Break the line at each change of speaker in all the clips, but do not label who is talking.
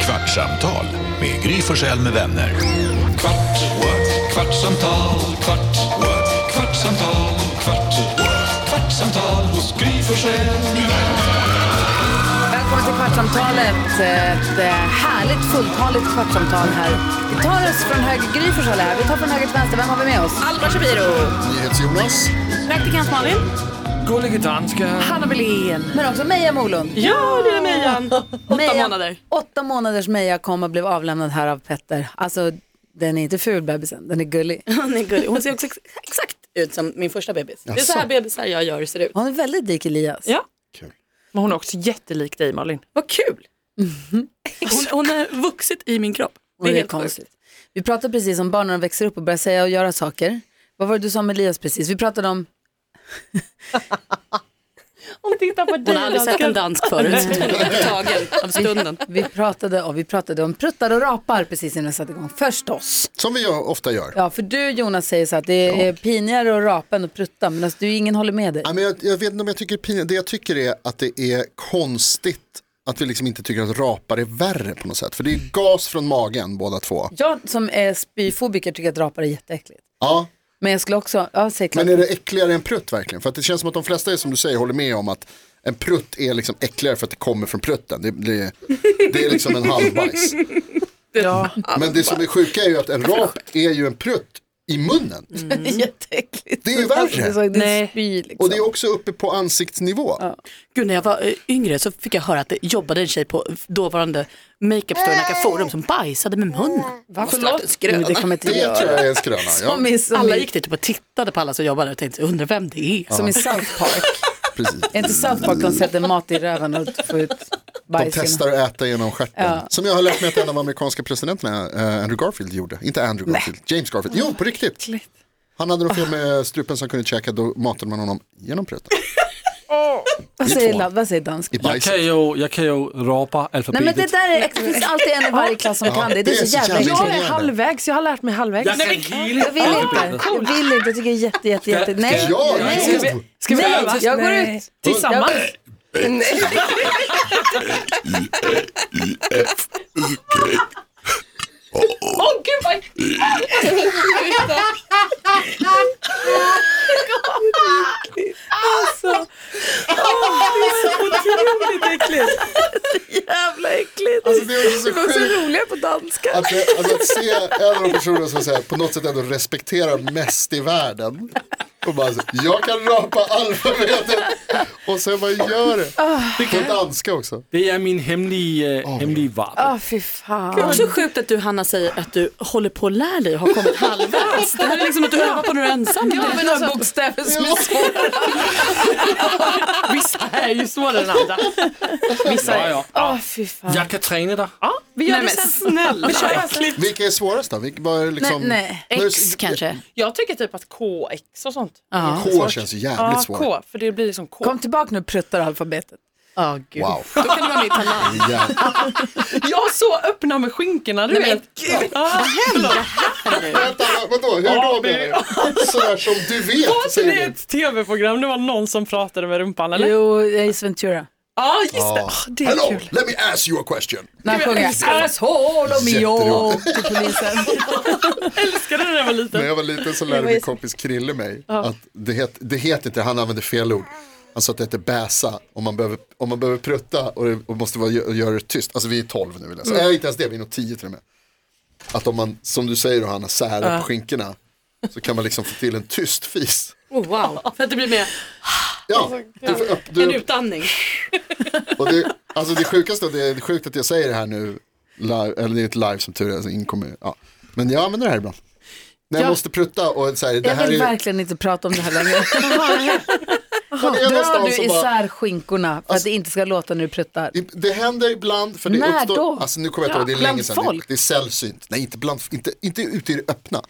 Kvartsamtal med Gry Forssell med vänner. Kvart, what? kvartsamtal, kvart, what? kvartsamtal, kvart, what? kvartsamtal hos Gry Forssell med vänner.
Välkommen till Kvartsamtalet. Ett eh, härligt fulltaligt kvartsamtal här. Vi tar oss från höger, Gry Forssell här. Vi tar från höger till vänster. Vem har vi med oss? Alma Shapiro.
NyhetsJonas.
Praktikant Malin.
Gullige danska.
Hanna Belén. Men också Meja Molund.
Ja, lilla Mejan. Åtta
Meja-
månader.
Åtta månaders Meja kom och blev avlämnad här av Petter. Alltså, den är inte ful bebisen, den är gullig.
Hon är gullig. Hon ser också ex- exakt ut som min första bebis. Det är så här bebisar jag gör ser ut.
Hon är väldigt lik Elias.
Ja.
Kul.
Men hon är också jättelik dig Malin.
Vad kul. Mm-hmm. Hon, hon har vuxit i min kropp.
Och det är konstigt. Vi pratade precis om barn när de växer upp och börjar säga och göra saker. Vad var det du sa om Elias precis? Vi pratade om
Hon tittar på dig. Hon har aldrig sett en dansk förut. Tagen av stunden.
Vi pratade, om, vi pratade om pruttar och rapar precis innan jag satte igång. Förstås.
Som vi gör, ofta gör.
Ja, för du Jonas säger så att det är pinigare att rapa än att prutta, men alltså, du, ingen håller med dig.
Ja, men jag, jag vet inte om jag tycker det är pinigt. Det jag tycker är att det är konstigt att vi liksom inte tycker att rapar är värre på något sätt. För det är gas från magen båda två.
Jag som är spyfobiker tycker att rapar är jätteäckligt.
Ja,
Men jag skulle också, ja säg klart.
men är det äckligare än prutt verkligen? För att det känns som att de flesta är som du säger håller med om att en prutt är liksom äckligare för att det kommer från prutten. Det, det, det är liksom en halvbajs. Men det som är sjuka är ju att en rap är ju en prutt i munnen.
det är jätteäckligt.
Det är ju
Alltså, det är,
värre.
så, det är
Nej.
spy liksom.
Och det är också uppe på ansiktsnivå.
Gud, när jag var eh, yngre så fick jag höra att det jobbade en tjej på dåvarande makeup store Nacka Forum som bajsade med munnen.
Måste ha varit en skrön.
Men det kommer inte
Det
göra.
tror jag är en skröna. Ja,
Som i, som,
Alla
i-
gick dit typ och tittade på alla som jobbade och tänkte, undrar vem det är.
som i South Park.
precis.
är inte South Park de sätter mat i röven och får ut
De
bajs? genom-
testar att äta genom stjärten. Som jag har lärt mig att en av de amerikanska presidenterna, eh, Andrew Garfield, gjorde. Inte Andrew Garfield, James Garfield. Jo, på riktigt. Han hade något fel med strupen som kunde käka, då matade man honom genom pruten.
Vad
I
säger,
två.
la- vad säger dansk?
I
Jag
bajset.
kan ju, jag kan ju rapa
Nej
alfabetet.
men det där är, det finns alltid en i varje klass som kan det. Det är så jävla äckligt.
Jag är halvvägs, jag har lärt mig halvvägs.
Jag kan hela
Jag vill inte. Jag vill inte. Jag tycker det är jätte, jätte, jätte. Nej.
Ja,
Nej.
jo.
Ska vi
Nej,
göra?
jag går ut.
Tillsammans?
Alltså, det är också så sjukt
roliga på danska.
att, det- alltså, att se en av de personer som så här, på något sätt ändå respekterar mest i världen. Och bara så, jag kan rapa alfabetet. Och sen bara gör det.
Ah.
På danska också.
Det är min øh, hemliga, hemliga vapen.
Åh fy
Det är
fan.
också sjukt att du Hanna säger att du håller på att lära dig och har kommit halvvägs. Det här är liksom att du övar på när du är ensam.
men alltså, bokstäver som
Vissa är ju svårare än andra. Vissa
Ja,
är...
ja.
Åh fy fan.
Jag kan träna dig.
Vi gör det sen. Snälla. Vi kör sen.
Vilka är svårast då? Vilka var liksom...
Nej,
När du-
X kanske.
Jag tycker typ att KX och sånt.
K känns ju jävligt
Ja,
svårt.
K, för det blir liksom K.
Kom tillbaka nu pruttar alfabetet.
Ja, gud.
Wow.
Då kan du vara med i Talang.
Ja.
Jag så öppna med skinkorna, du vet. Ja,
Vänta, vadå? Hur då menar du? Sådär som du vet,
Var inte det
säger du.
ett tv-program? Det var någon som pratade med rumpan, eller? Ja,
Jo, Ace Ventura.
just det. Ah, det är
Hello,
kul.
let me ask you a question.
När han sjunger Asshole och mio
Jätteroligt.
till polisen.
Älskade det när jag var liten.
När jag var liten så lärde min kompis Krille mig att det heter, det heter inte, han använde fel ord. Han sa att det heter bäsa om man behöver, om man behöver prutta och, det, och måste vara, göra det tyst. Alltså vi är 12 nu vill jag säga. Nej, inte ens det, vi är nog 10 till och med. Att om man, som du säger Hanna, särar på skinkorna så kan man liksom få till en tyst fis.
Oh, wow, för att det blir mer
Ja, du, får upp-
en
du,
utandning.
Och det, alltså det sjukaste, det är sjukt att jag säger det här nu, live, eller det är ett live som tur är, alltså inkommer, ja. men jag använder det här ibland. När jag måste prutta och så här, det
Jag
här
vill
är,
verkligen inte prata om det här längre.
det är
Drar
någonstans
du
som bara, Alltså-
isär skinkorna för att det inte ska låta när du pruttar?
det händer ibland, för det
När
uppstår,
då?
alltså nu kommer jag inte ihåg, det är
bland
länge sedan, det,
folk.
det är sällsynt, nej inte bland, inte, inte ute i det öppna.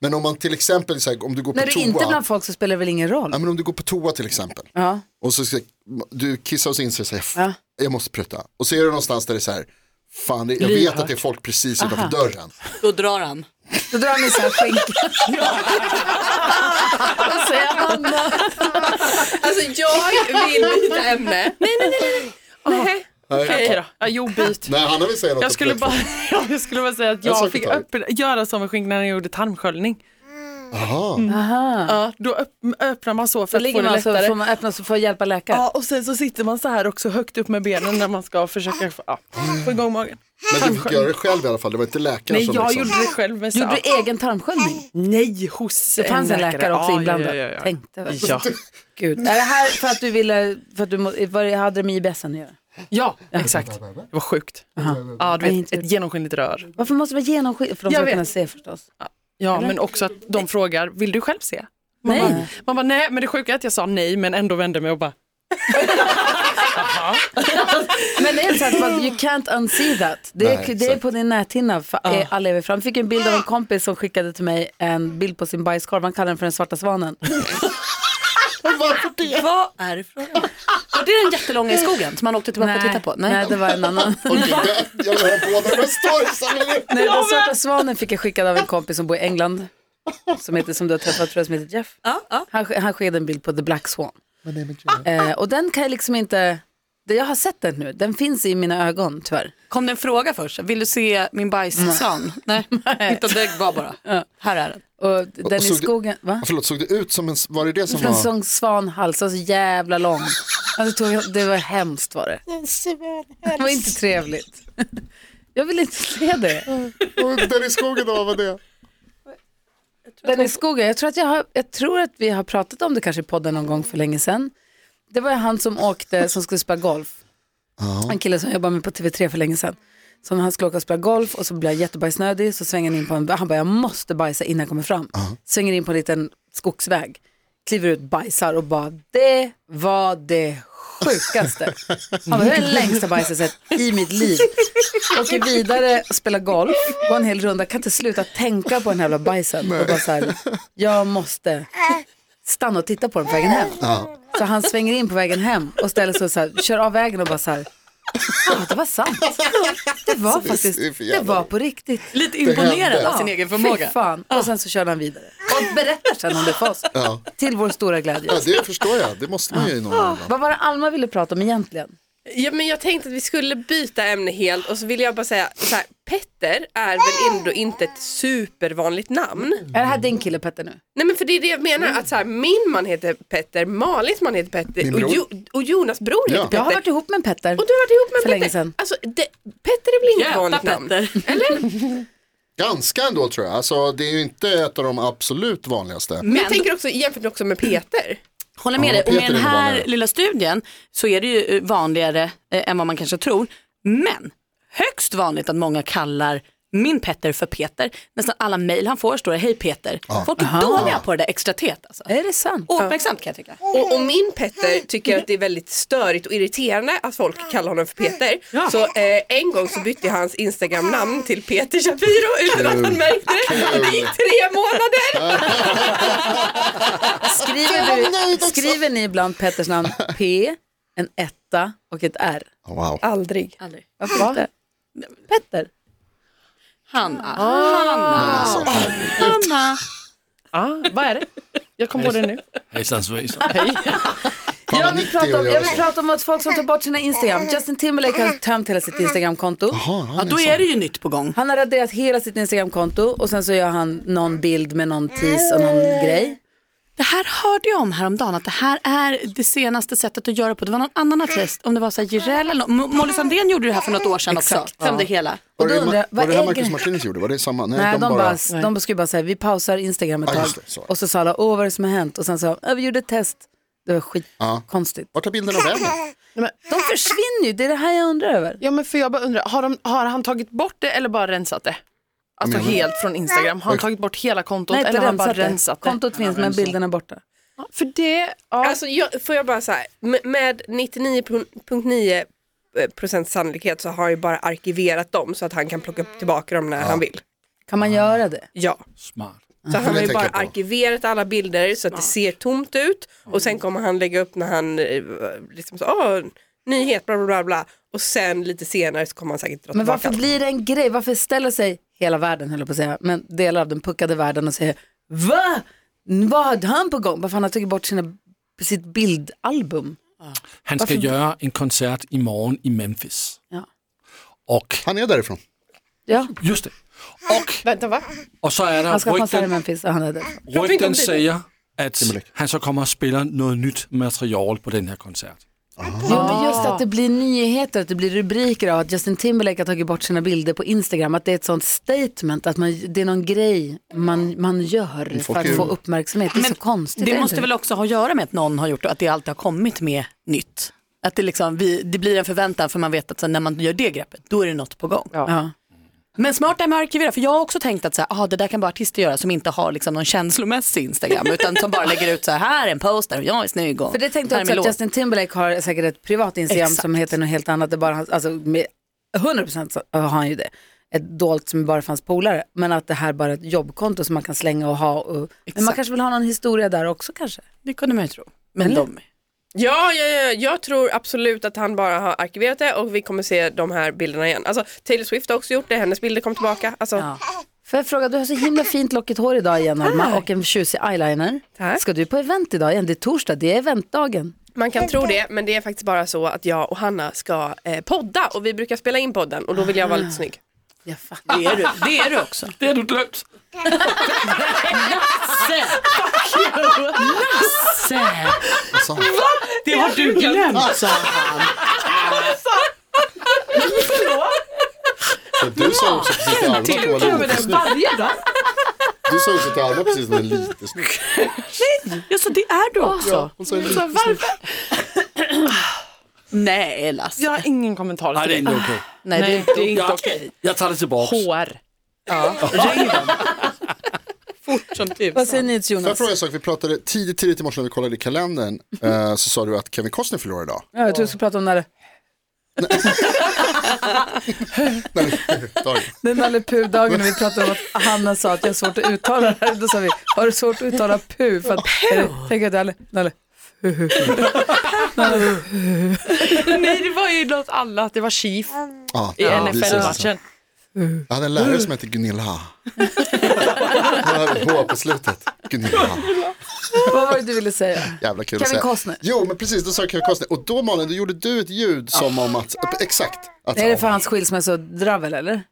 Men om man till exempel, så här, om du går på
När du
toa,
inte är bland folk så spelar det väl ingen roll?
ja, men om du går på toa till exempel,
Ja.
och så ska, du kissar och så inser du,
Ja.
ja. jag måste prutta, och så är det någonstans där det är så här, fan det, jag vet att det är folk precis utanför dörren.
Då drar han.
Då drar han isär skinkorna. Vad säger Anna?
Alltså jag vill byta ämne. Nej, nej, nej. nej.
Nej,
Okej då. Ja, jo, byt.
Nej, Hanna vill säga något.
Jag
om
skulle, bara,
plattform.
ja, jag skulle bara säga att
En sak i
jag fick
taget.
öppna, göra som en skinka när jag gjorde tarmsköljning.
Aha.
Ja, då öpp, öppnar man så för
Så
att få
ligger
det
man så
lättare.
får man öppna så får hjälpa läkaren.
Ja, och sen så sitter man så här också högt upp med benen när man ska försöka få, ja, få igång magen.
Men du fick göra det själv i alla fall, det var inte läkaren
Nej,
som
jag
liksom...
gjorde det själv. Med så,
Gjorde du egen tarmsköljning?
Nej, hos
Det fanns en läkare också
Ja,
inblandad.
Ja, ja, ja.
Tänkte väl.
Ja.
Gud. Är det här för att du ville, för att du må- var det, hade det med IBSen att göra?
ja, exakt. Det var sjukt. Ja, du
Nej,
vet,
inte.
ett genomskinligt rör.
Varför måste det vara genomskinligt? För de
Jag
ska
vet.
kunna se förstås.
Ja, men också att de frågar, vill du själv se?
Nej.
Man bara, nej, men det sjuka är att jag sa nej, men ändå vände mig och bara,
Men det är så att man, you can't unsee that. Det är,
Nej,
det är
exakt.
på din näthinna för, eh, är all evig fram. Jag fick en bild av en kompis som skickade till mig en bild på sin bajskorv. Han kallar den för den svarta svanen.
Varför det?
Vad är det frågan om? Var det den jättelånga i skogen som man åkte tillbaka och tittade på?
nej. det var en annan.
Okej, det- jag vill ha båda de storiesarna nu.
Nej, den svarta svanen fick jag skickad av en kompis som bor i England. Som, heter, som du har träffat tror jag, som heter Jeff. Han, sk- han skickade en bild på The Black Swan. Eh, och den kan jag liksom inte, det jag har sett den nu, den finns i mina ögon tyvärr.
Kom det en fråga först? Vill du se min bajssan? Nej, utan det var bara. Här är den.
Och d- den i
såg du-
skogen, va?
Förlåt, såg det ut som en... Var det det som
En
var...
sån svanhals, så jävla lång. Alltså, det tog- det var hemskt var det. Det var inte trevligt. Jag vill inte se det.
Och Den i skogen då, vad var det?
Den i skogen, jag tror, att jag, har, jag tror att vi har pratat om det kanske i podden någon gång för länge sedan. Det var ju han som åkte, som skulle spela golf. En kille som jag jobbade med på TV3 för länge sedan. Som han skulle åka och spela golf och så blev jag jättebajsnödig. Så svänger han in på en, han bara jag måste bajsa innan jag kommer fram. Svänger in på en liten skogsväg. Kliver ut, bajsar och bara det var det sjukaste. Han bara, det är den längsta bajset jag sett i mitt liv. Åker vidare och spelar golf, går en hel runda, kan inte sluta tänka på den här jävla bajsen. Och bara så här, jag måste stanna och titta på den på vägen hem. Så han svänger in på vägen hem och ställer sig och så här, kör av vägen och bara så här, "Ah, det var sant. Det var faktiskt,
det är för
det
jävla-
var på riktigt.
Lite imponerad
hände.
av sin egen förmåga.
Fy fan. Och sen så körde han vidare. Och berättar sen om det för oss. Till vår stora glädje.
Ja, det förstår jag. Det måste man ju i någon annan.
Vad var det Alma ville prata om egentligen?
Ja, men jag tänkte att vi skulle byta ämne helt och så vill jag bara säga så här, Petter är väl ändå inte ett supervanligt namn?
Är det här din kille Petter nu?
Nej men för det är det jag menar att så här, min man heter Petter, Malins man heter Petter
Din
och,
bror.
jo, och Jonas bror
Ja.
heter
Jag har
Petter.
varit ihop med en Petter.
Och du har varit ihop med
För
Petter.
länge sedan.
Alltså, det, Petter är väl inget vanligt namn? Eller?
Ganska ändå tror jag. Alltså, det är ju inte ett av de absolut vanligaste.
Mm.
Men jag tänker också jämfört också med Peter.
Håller med
Ja,
dig. Och med
Peter
den
är
här
vanligare.
lilla studien så är det ju eh, vanligare eh, än vad man kanske tror. Men högst vanligt att många kallar min Petter för Peter. Nästan alla mejl han får står det hej Peter. Folk är dåliga på det där extra teet alltså.
Är det sant?
Ouppmärksamt kan jag tycka.
Och, och min Petter tycker att det är väldigt störigt och irriterande att folk kallar honom för Peter. Så eh, en gång så bytte jag hans Instagram-namn till Peter Shapiro utan att han märkte det. Det gick tre månader.
Skriver, du, skriver ni ibland Petters namn P, en etta och ett R?
Wow.
Aldrig.
Aldrig.
Varför inte? Petter?
Hanna.
Alltså,
Hanna.
ah, vad är det? Jag kom på det nu.
Hejsan svejsan.
fan
Jag
vad
vill,
nyttig att
prata om,
göra
jag vill
så.
prata om att folk som tar bort sina Instagram. Justin Timberlake har tömt hela sitt Instagramkonto.
Jaha, han
Ja, då är det ju nytt på gång.
Han har raderat hela sitt Instagramkonto och sen så gör han någon bild med någon tease och någon grej.
Det här hörde jag om häromdagen, att det här är det senaste sättet att göra på. Det var någon annan artist, om det var så här Jireel eller någon. Mo- Molly Sandén gjorde det här för något år sedan också.
Exakt.
Tömde hela.
Var
då
det,
undrar jag,
Ma-
vad
var
är
det här Marcus
gre-
Martinez gjorde? Var det samma? Nej,
Nej, de, bara,
nej.
de skulle bara säga vi pausar Instagram ett
Ja,
tag.
just det, så.
och så sa alla, åh vad är det som har hänt? Och sen sa de, "Ja, vi gjorde ett test. Det var
Ja.
skitkonstigt.
Vart tar bilden av vem?
De försvinner ju, det är det här jag undrar över.
Ja, men för jag bara undrar, har, de, har han tagit bort det eller bara rensat det? Alltså helt från Instagram. Har han tagit bort hela kontot
Nej,
eller
inte
har han bara
rensat det.
rensat det?
Kontot finns men bilderna är borta.
För det, ja.
Alltså jag, får jag bara säga, med, med 99.9 procents eh, sannolikhet så har han ju bara arkiverat dem så att han kan plocka tillbaka dem när han vill.
Kan man göra det?
Ja,
Smart.
så han har ju
tänker
bara
jag på.
arkiverat alla bilder så att det ser tomt ut och sen kommer han lägga upp när han eh, liksom så, "Åh, nyhet bla bla bla bla och sen lite senare så kommer han säkert dra
Men
tillbaka
varför
dem.
blir det en grej? Varför ställer sig hela världen, höll jag på att säga, men delar av den puckade världen och säger Va? Vad hade han på gång? Varför han har tagit bort sina, sitt bildalbum?
Han ska göra en koncert imorgon i Memphis.
Ja.
Och,
Han är därifrån.
Ja,
just det. Och,
Vänta va?
och så är
han ska
det
ha konsert i
rykten,
Memphis och han är där.
Ah.
rykten säger att han så kommer att spela något nytt material på den här konserten.
Jo, men just att det blir nyheter, att det blir rubriker av att Justin Timberlake har tagit bort sina bilder på Instagram, att det är ett sånt statement, att man, det är någon grej man, man gör för
Folk
att
är-
få uppmärksamhet. Det är så konstigt. är
Det
inte
måste väl också ha att göra med att någon har gjort det, att det alltid har kommit med nytt. Att det, liksom, vi, det blir en förväntan för man vet att så, när man gör det greppet, då är det något på gång.
Ja.
Men smart det här med att arkivera, för jag har också tänkt att så här, ah, det där kan bara artister göra som inte har liksom, någon känslomässig Instagram, utan som bara lägger ut så här, här är en poster, jag är snygg och
För det tänkte jag
här är min
också att
låt.
Justin Timberlake har säkert ett privat Instagram
Exakt.
som heter något helt annat. Det är bara hans, alltså, med 100% så har han ju det. Ett dolt som bara fanns polare. Men att det här bara är ett jobbkonto som man kan slänga och ha. Och, men man
Exakt.
kanske vill ha någon historia där också kanske.
Det kunde man ju tro. Men
Eller?
de,
Ja, ja, ja, jag tror absolut att han bara har arkiverat det och vi kommer se de här bilderna igen. Alltså Taylor Swift har också gjort det, hennes bilder kom tillbaka. Alltså,
Får jag fråga, du har så himla fint lockigt hår idag igen Alma och en tjusig eyeliner.
Tack.
Ska du på event idag igen? Det är torsdag, det är eventdagen.
Man kan tro det, men det är faktiskt bara så att jag och Hanna ska eh, podda och vi brukar spela in podden och då vill jag vara
Ah.
lite snygg.
Jag fattar.
det är du, det är du också.
Det har du glömt.
Lasse!
Alltså,
Det har du glömt sa han.
så du sa också precis till Alma att hon var lite snygg.
varje dag.
Du sa också till Alma precis att hon är lite snygg.
Ja, så det är du också.
Ja, hon sa lite snygg.
Nej, Lasse.
Jag har ingen kommentar
Nej,
till
det är
det.
inte
Ah,
okej.
Nej, det är inte.
Det är inte
Jag-
okej.
Jag tar det tillbaka.
Hår. Ja. Ring dem. Fort som tusan.
Vad säger ni till
Får jag
Jonas?
fråga en sak? Vi pratade tidigt, tidigt i morse när vi kollade i kalendern eh, så sa du att Kevin Costner förlorar idag.
Ja, jag tror vi ska prata om när
Nej, dag.
Den Nalle Puh-dagen när vi pratade om att Hanna sa att jag har svårt att uttala det här. Då sa vi, har du svårt att uttala Puh? För att, eller, tänk att Nalle, Nalle,
Nej, det var ju något annat. Det var Chief
Ja,
i
ja, vi ses sen.
NFL-matchen.
Jag hade en lärare som hette Gunilla. Han hade ett H på slutet. Gunilla.
vad var det du ville säga?
Jävla kul
Kevin
att säga.
Costner.
Jo, men precis, då sa jag Kevin Costner. Och då Malin, då gjorde du ett ljud som om att, exakt. Att,
Är Ah. det för hans skilsmässodravel eller?
Nej,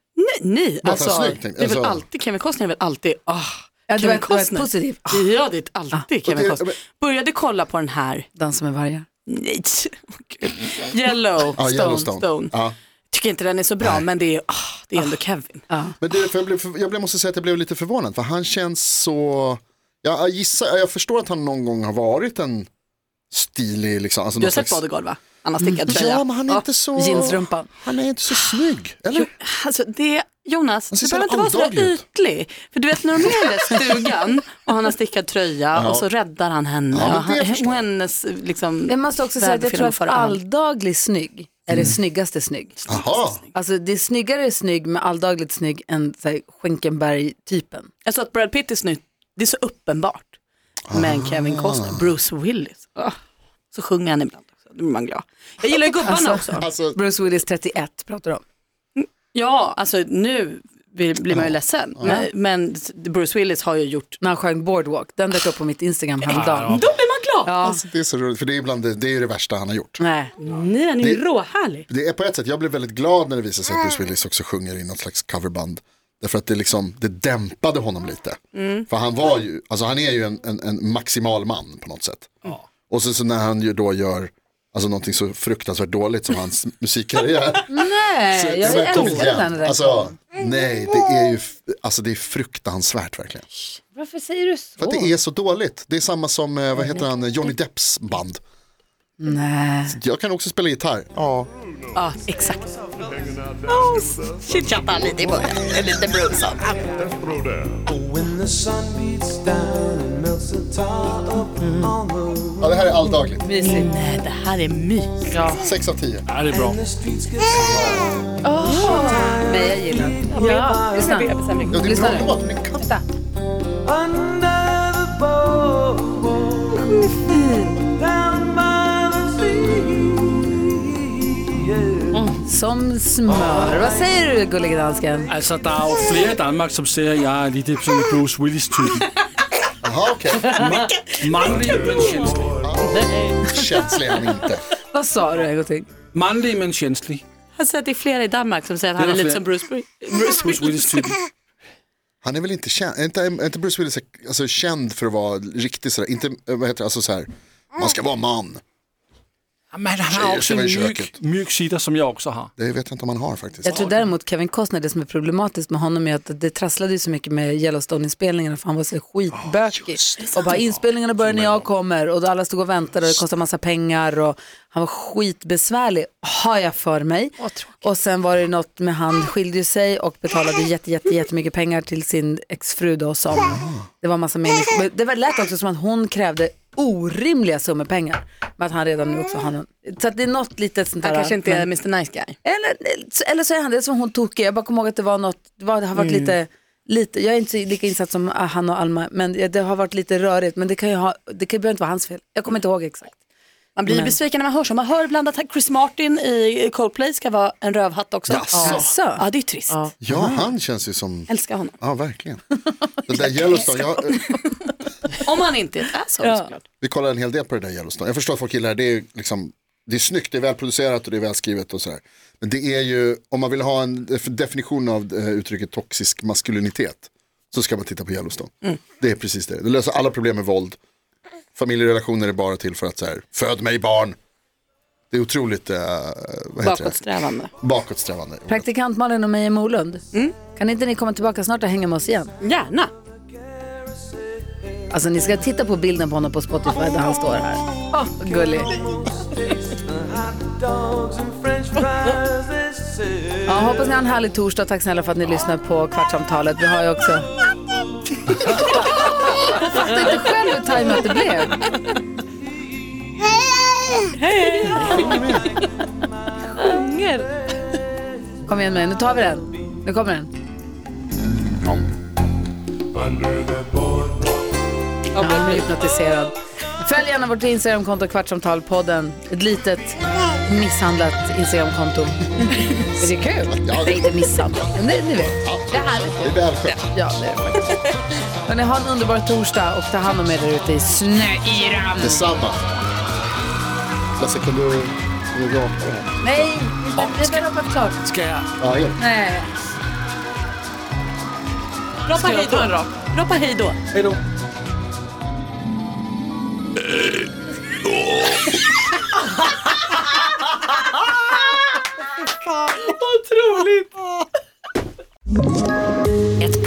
nej.
Låt han
Alltså,
snygg, tänkte-
det är väl
alltså-
alltid Kevin Costner är väl alltid, ah,
Ja, det var
Kevin
ett- det var ett
Costner.
positivt, ah.
Ja, det är alltid Kevin
det-
Costner. Började kolla på den här,
Dansa med vargar.
nej, åh, gud. Yellow,
Ja,
Stone,
Yellowstone.
Stone.
Ja.
Tycker inte den är så bra, men det är, ah, det är ändå Kevin.
Men det, är för jag, blev, för, jag blev- måste säga att jag blev lite förvånad, för han känns så... Jag, jag gissar, jag förstår att han någon gång har varit en stilig, liksom. Alltså
Du har
någon
sett
slags-
Bodyguard va? Han har stickat tröja.
Mm. Ja, men han är
Ja.
inte så...
Jeansrumpan.
Han är inte så snygg, eller?
Jo, alltså det, Jonas,
Han ser
du
så
behöver inte
jävla
vara så
alldaglig ut.
ytlig. För du vet när de är i den där stugan och han har stickad tröja
Ja.
och så räddar han henne.
Ja, men
och, han,
det förstår
och
jag.
hennes liksom,
Jag måste också säga att jag tror
värdfilm
att
för hand.
alldaglig snygg är det snyggaste snygg.
Jaha,
Alltså det är snyggare snygg med alldagligt snygg än så här, Schenkenberg-typen.
Alltså att Brad Pitt är snygg, det är så uppenbart. Men
Ah.
Kevin Costner, Bruce Willis, ah, så sjunger han ibland också. Då blir man glad. Jag gillar ju gubbarna också.
alltså,
Bruce Willis 31 pratar du om.
Ja, alltså nu blir blir man ju ledsen. Men, men Bruce Willis har ju gjort,
När han sjöng Boardwalk, den dök upp på mitt Instagram häromdagen.
då blir man glad.
alltså, det är så roligt, för det är, ibland, det, det är ju det värsta han har gjort.
Nej.
Nej, han är ju råhärlig.
Det är på ett sätt, jag blev väldigt glad när det visade sig att
Mm.
Bruce Willis också sjunger i något slags coverband. Därför att det, liksom, det dämpade honom lite.
Mm.
För han var ju, alltså han är ju en, en, en maximal man på något sätt. Och så, så när han ju då gör alltså, någonting så fruktansvärt dåligt som hans musikkarriär. så,
Nej, Mm. jag
kom
älskar
igen.
den där.
Alltså, nej, det är ju f- alltså, det är fruktansvärt verkligen.
Varför säger du så?
För att det är så dåligt. Det är samma som, eh, vad heter han, Johnny Depps band.
Nej.
Jag kan också spela gitarr. Ja.
Ja, exakt. Oh, Chitchattar lite i början, en liten Bruce.
ja, det här är alldagligt.
Nej, det här är mys.
Sex av tio.
Ja, det är bra.
Nej, jag gillar den. Ja. Lyssna.
Ja, det är en
Lyssna
bra
nu.
låt, men kan
Som smör. Vad säger du, gullige dansken?
Altså, der er jo flere i Danmark, som siger, at jeg er lige det sådan en Bruce Willis-typen.
Jaha, okej. Mm,
Mangler jo den tjeneste.
Ja, Känslig är han inte.
Vad sa du Egoting?
Manlig men känslig.
Han säger att det är flera i Danmark som säger att
Det
han
är
är lite
fler.
som Bruce, Bru-
Bruce Willis-typen.
Han är väl inte känd, är inte, är inte Bruce Willis alltså, känd för att vara riktigt sådär, inte, eh, vad heter det, alltså så här, man ska vara man.
Men han
Tjejer
har också
ser
en
väl i
mjuk,
köket.
mjuk sida som jag också har.
Det vet jag inte om han har faktiskt.
Jag tror däremot Kevin Costner, det som är problematiskt med honom är att det trasslade ju så mycket med Yellowstone-inspelningarna för han var så skitbökig. och bara inspelningarna börjar när jag kommer och då alla stod och väntade och det kostade massa pengar och han var skitbesvärlig, har jag för mig. och sen var det något med han skilde ju sig och betalade jätte, jätte, jättemycket pengar till sin exfru då som det var massa människor. Men Det var- lät också som att hon krävde orimliga summor pengar. Men att han redan nu också har någon. Så att det är något litet sånt där.
Han kanske inte
men-
är Mr Nice Guy.
eller, eller så är han det som hon tokig. Jag bara kommer ihåg att det var något, det, var, det har varit lite, lite, jag är inte så lika insatt som ah, han och Alma, men det har varit lite rörigt. Men det kan ju ha, det kan, behöver inte vara hans fel. Jag kommer inte ihåg exakt.
Man blir besviken när man hör så. Man hör ibland att Chris Martin i Coldplay ska vara en rövhatt också.
Jaså?
Ja, Ja, det är trist.
Ja, han känns ju som,
Älskar honom.
ja verkligen. Den där Yellowstone, jag, eh,
Om han inte är ett asshole såklart.
vi kollar en hel del på det där Yellowstone. Jag förstår att folk gillar det, det är ju liksom, det är snyggt, det är välproducerat och det är välskrivet och sådär. Men det är ju, om man vill ha en def- definition av eh, uttrycket toxisk maskulinitet, så ska man titta på Yellowstone. Det är precis det, det löser alla problem med våld. Familjerelationer är bara till för att så här, föd mig barn. Det är otroligt, eh, vad heter det?
Bakåtsträvande.
Bakåtsträvande.
Praktikant Malin och Meja Molund, kan inte ni komma tillbaka snart och hänga med oss igen?
Gärna.
Alltså ni ska titta på bilden på honom på Spotify där han står här. Åh, vad gullig. Ja, hoppas ni har en härlig torsdag. Tack snälla för att ni lyssnar på Kvartsamtalet. Vi har ju också... Jag fattar inte själv hur tajmat det blev. Kom igen med den. nu tar vi den. Nu kommer den. Ja, man blir hypnotiserad. Följ gärna vårt Instagramkonto Kvartsamtalpodden. Ett litet misshandlat Instagramkonto. Är det kul?
Ja,
Det
det-
är inte misshandlat, men det- ni vet. Det är härligt.
Det är välskött.
Ja, det är det faktiskt. Hörrni, ha en underbar torsdag och ta hand om er där ute i snöyran.
Detsamma. Lasse, kan du... Kan du dra på det här?
Nej, det där har varit klart.
Ja, ja.
Nej.
Ropa hej då. Ropa hej då.
Ett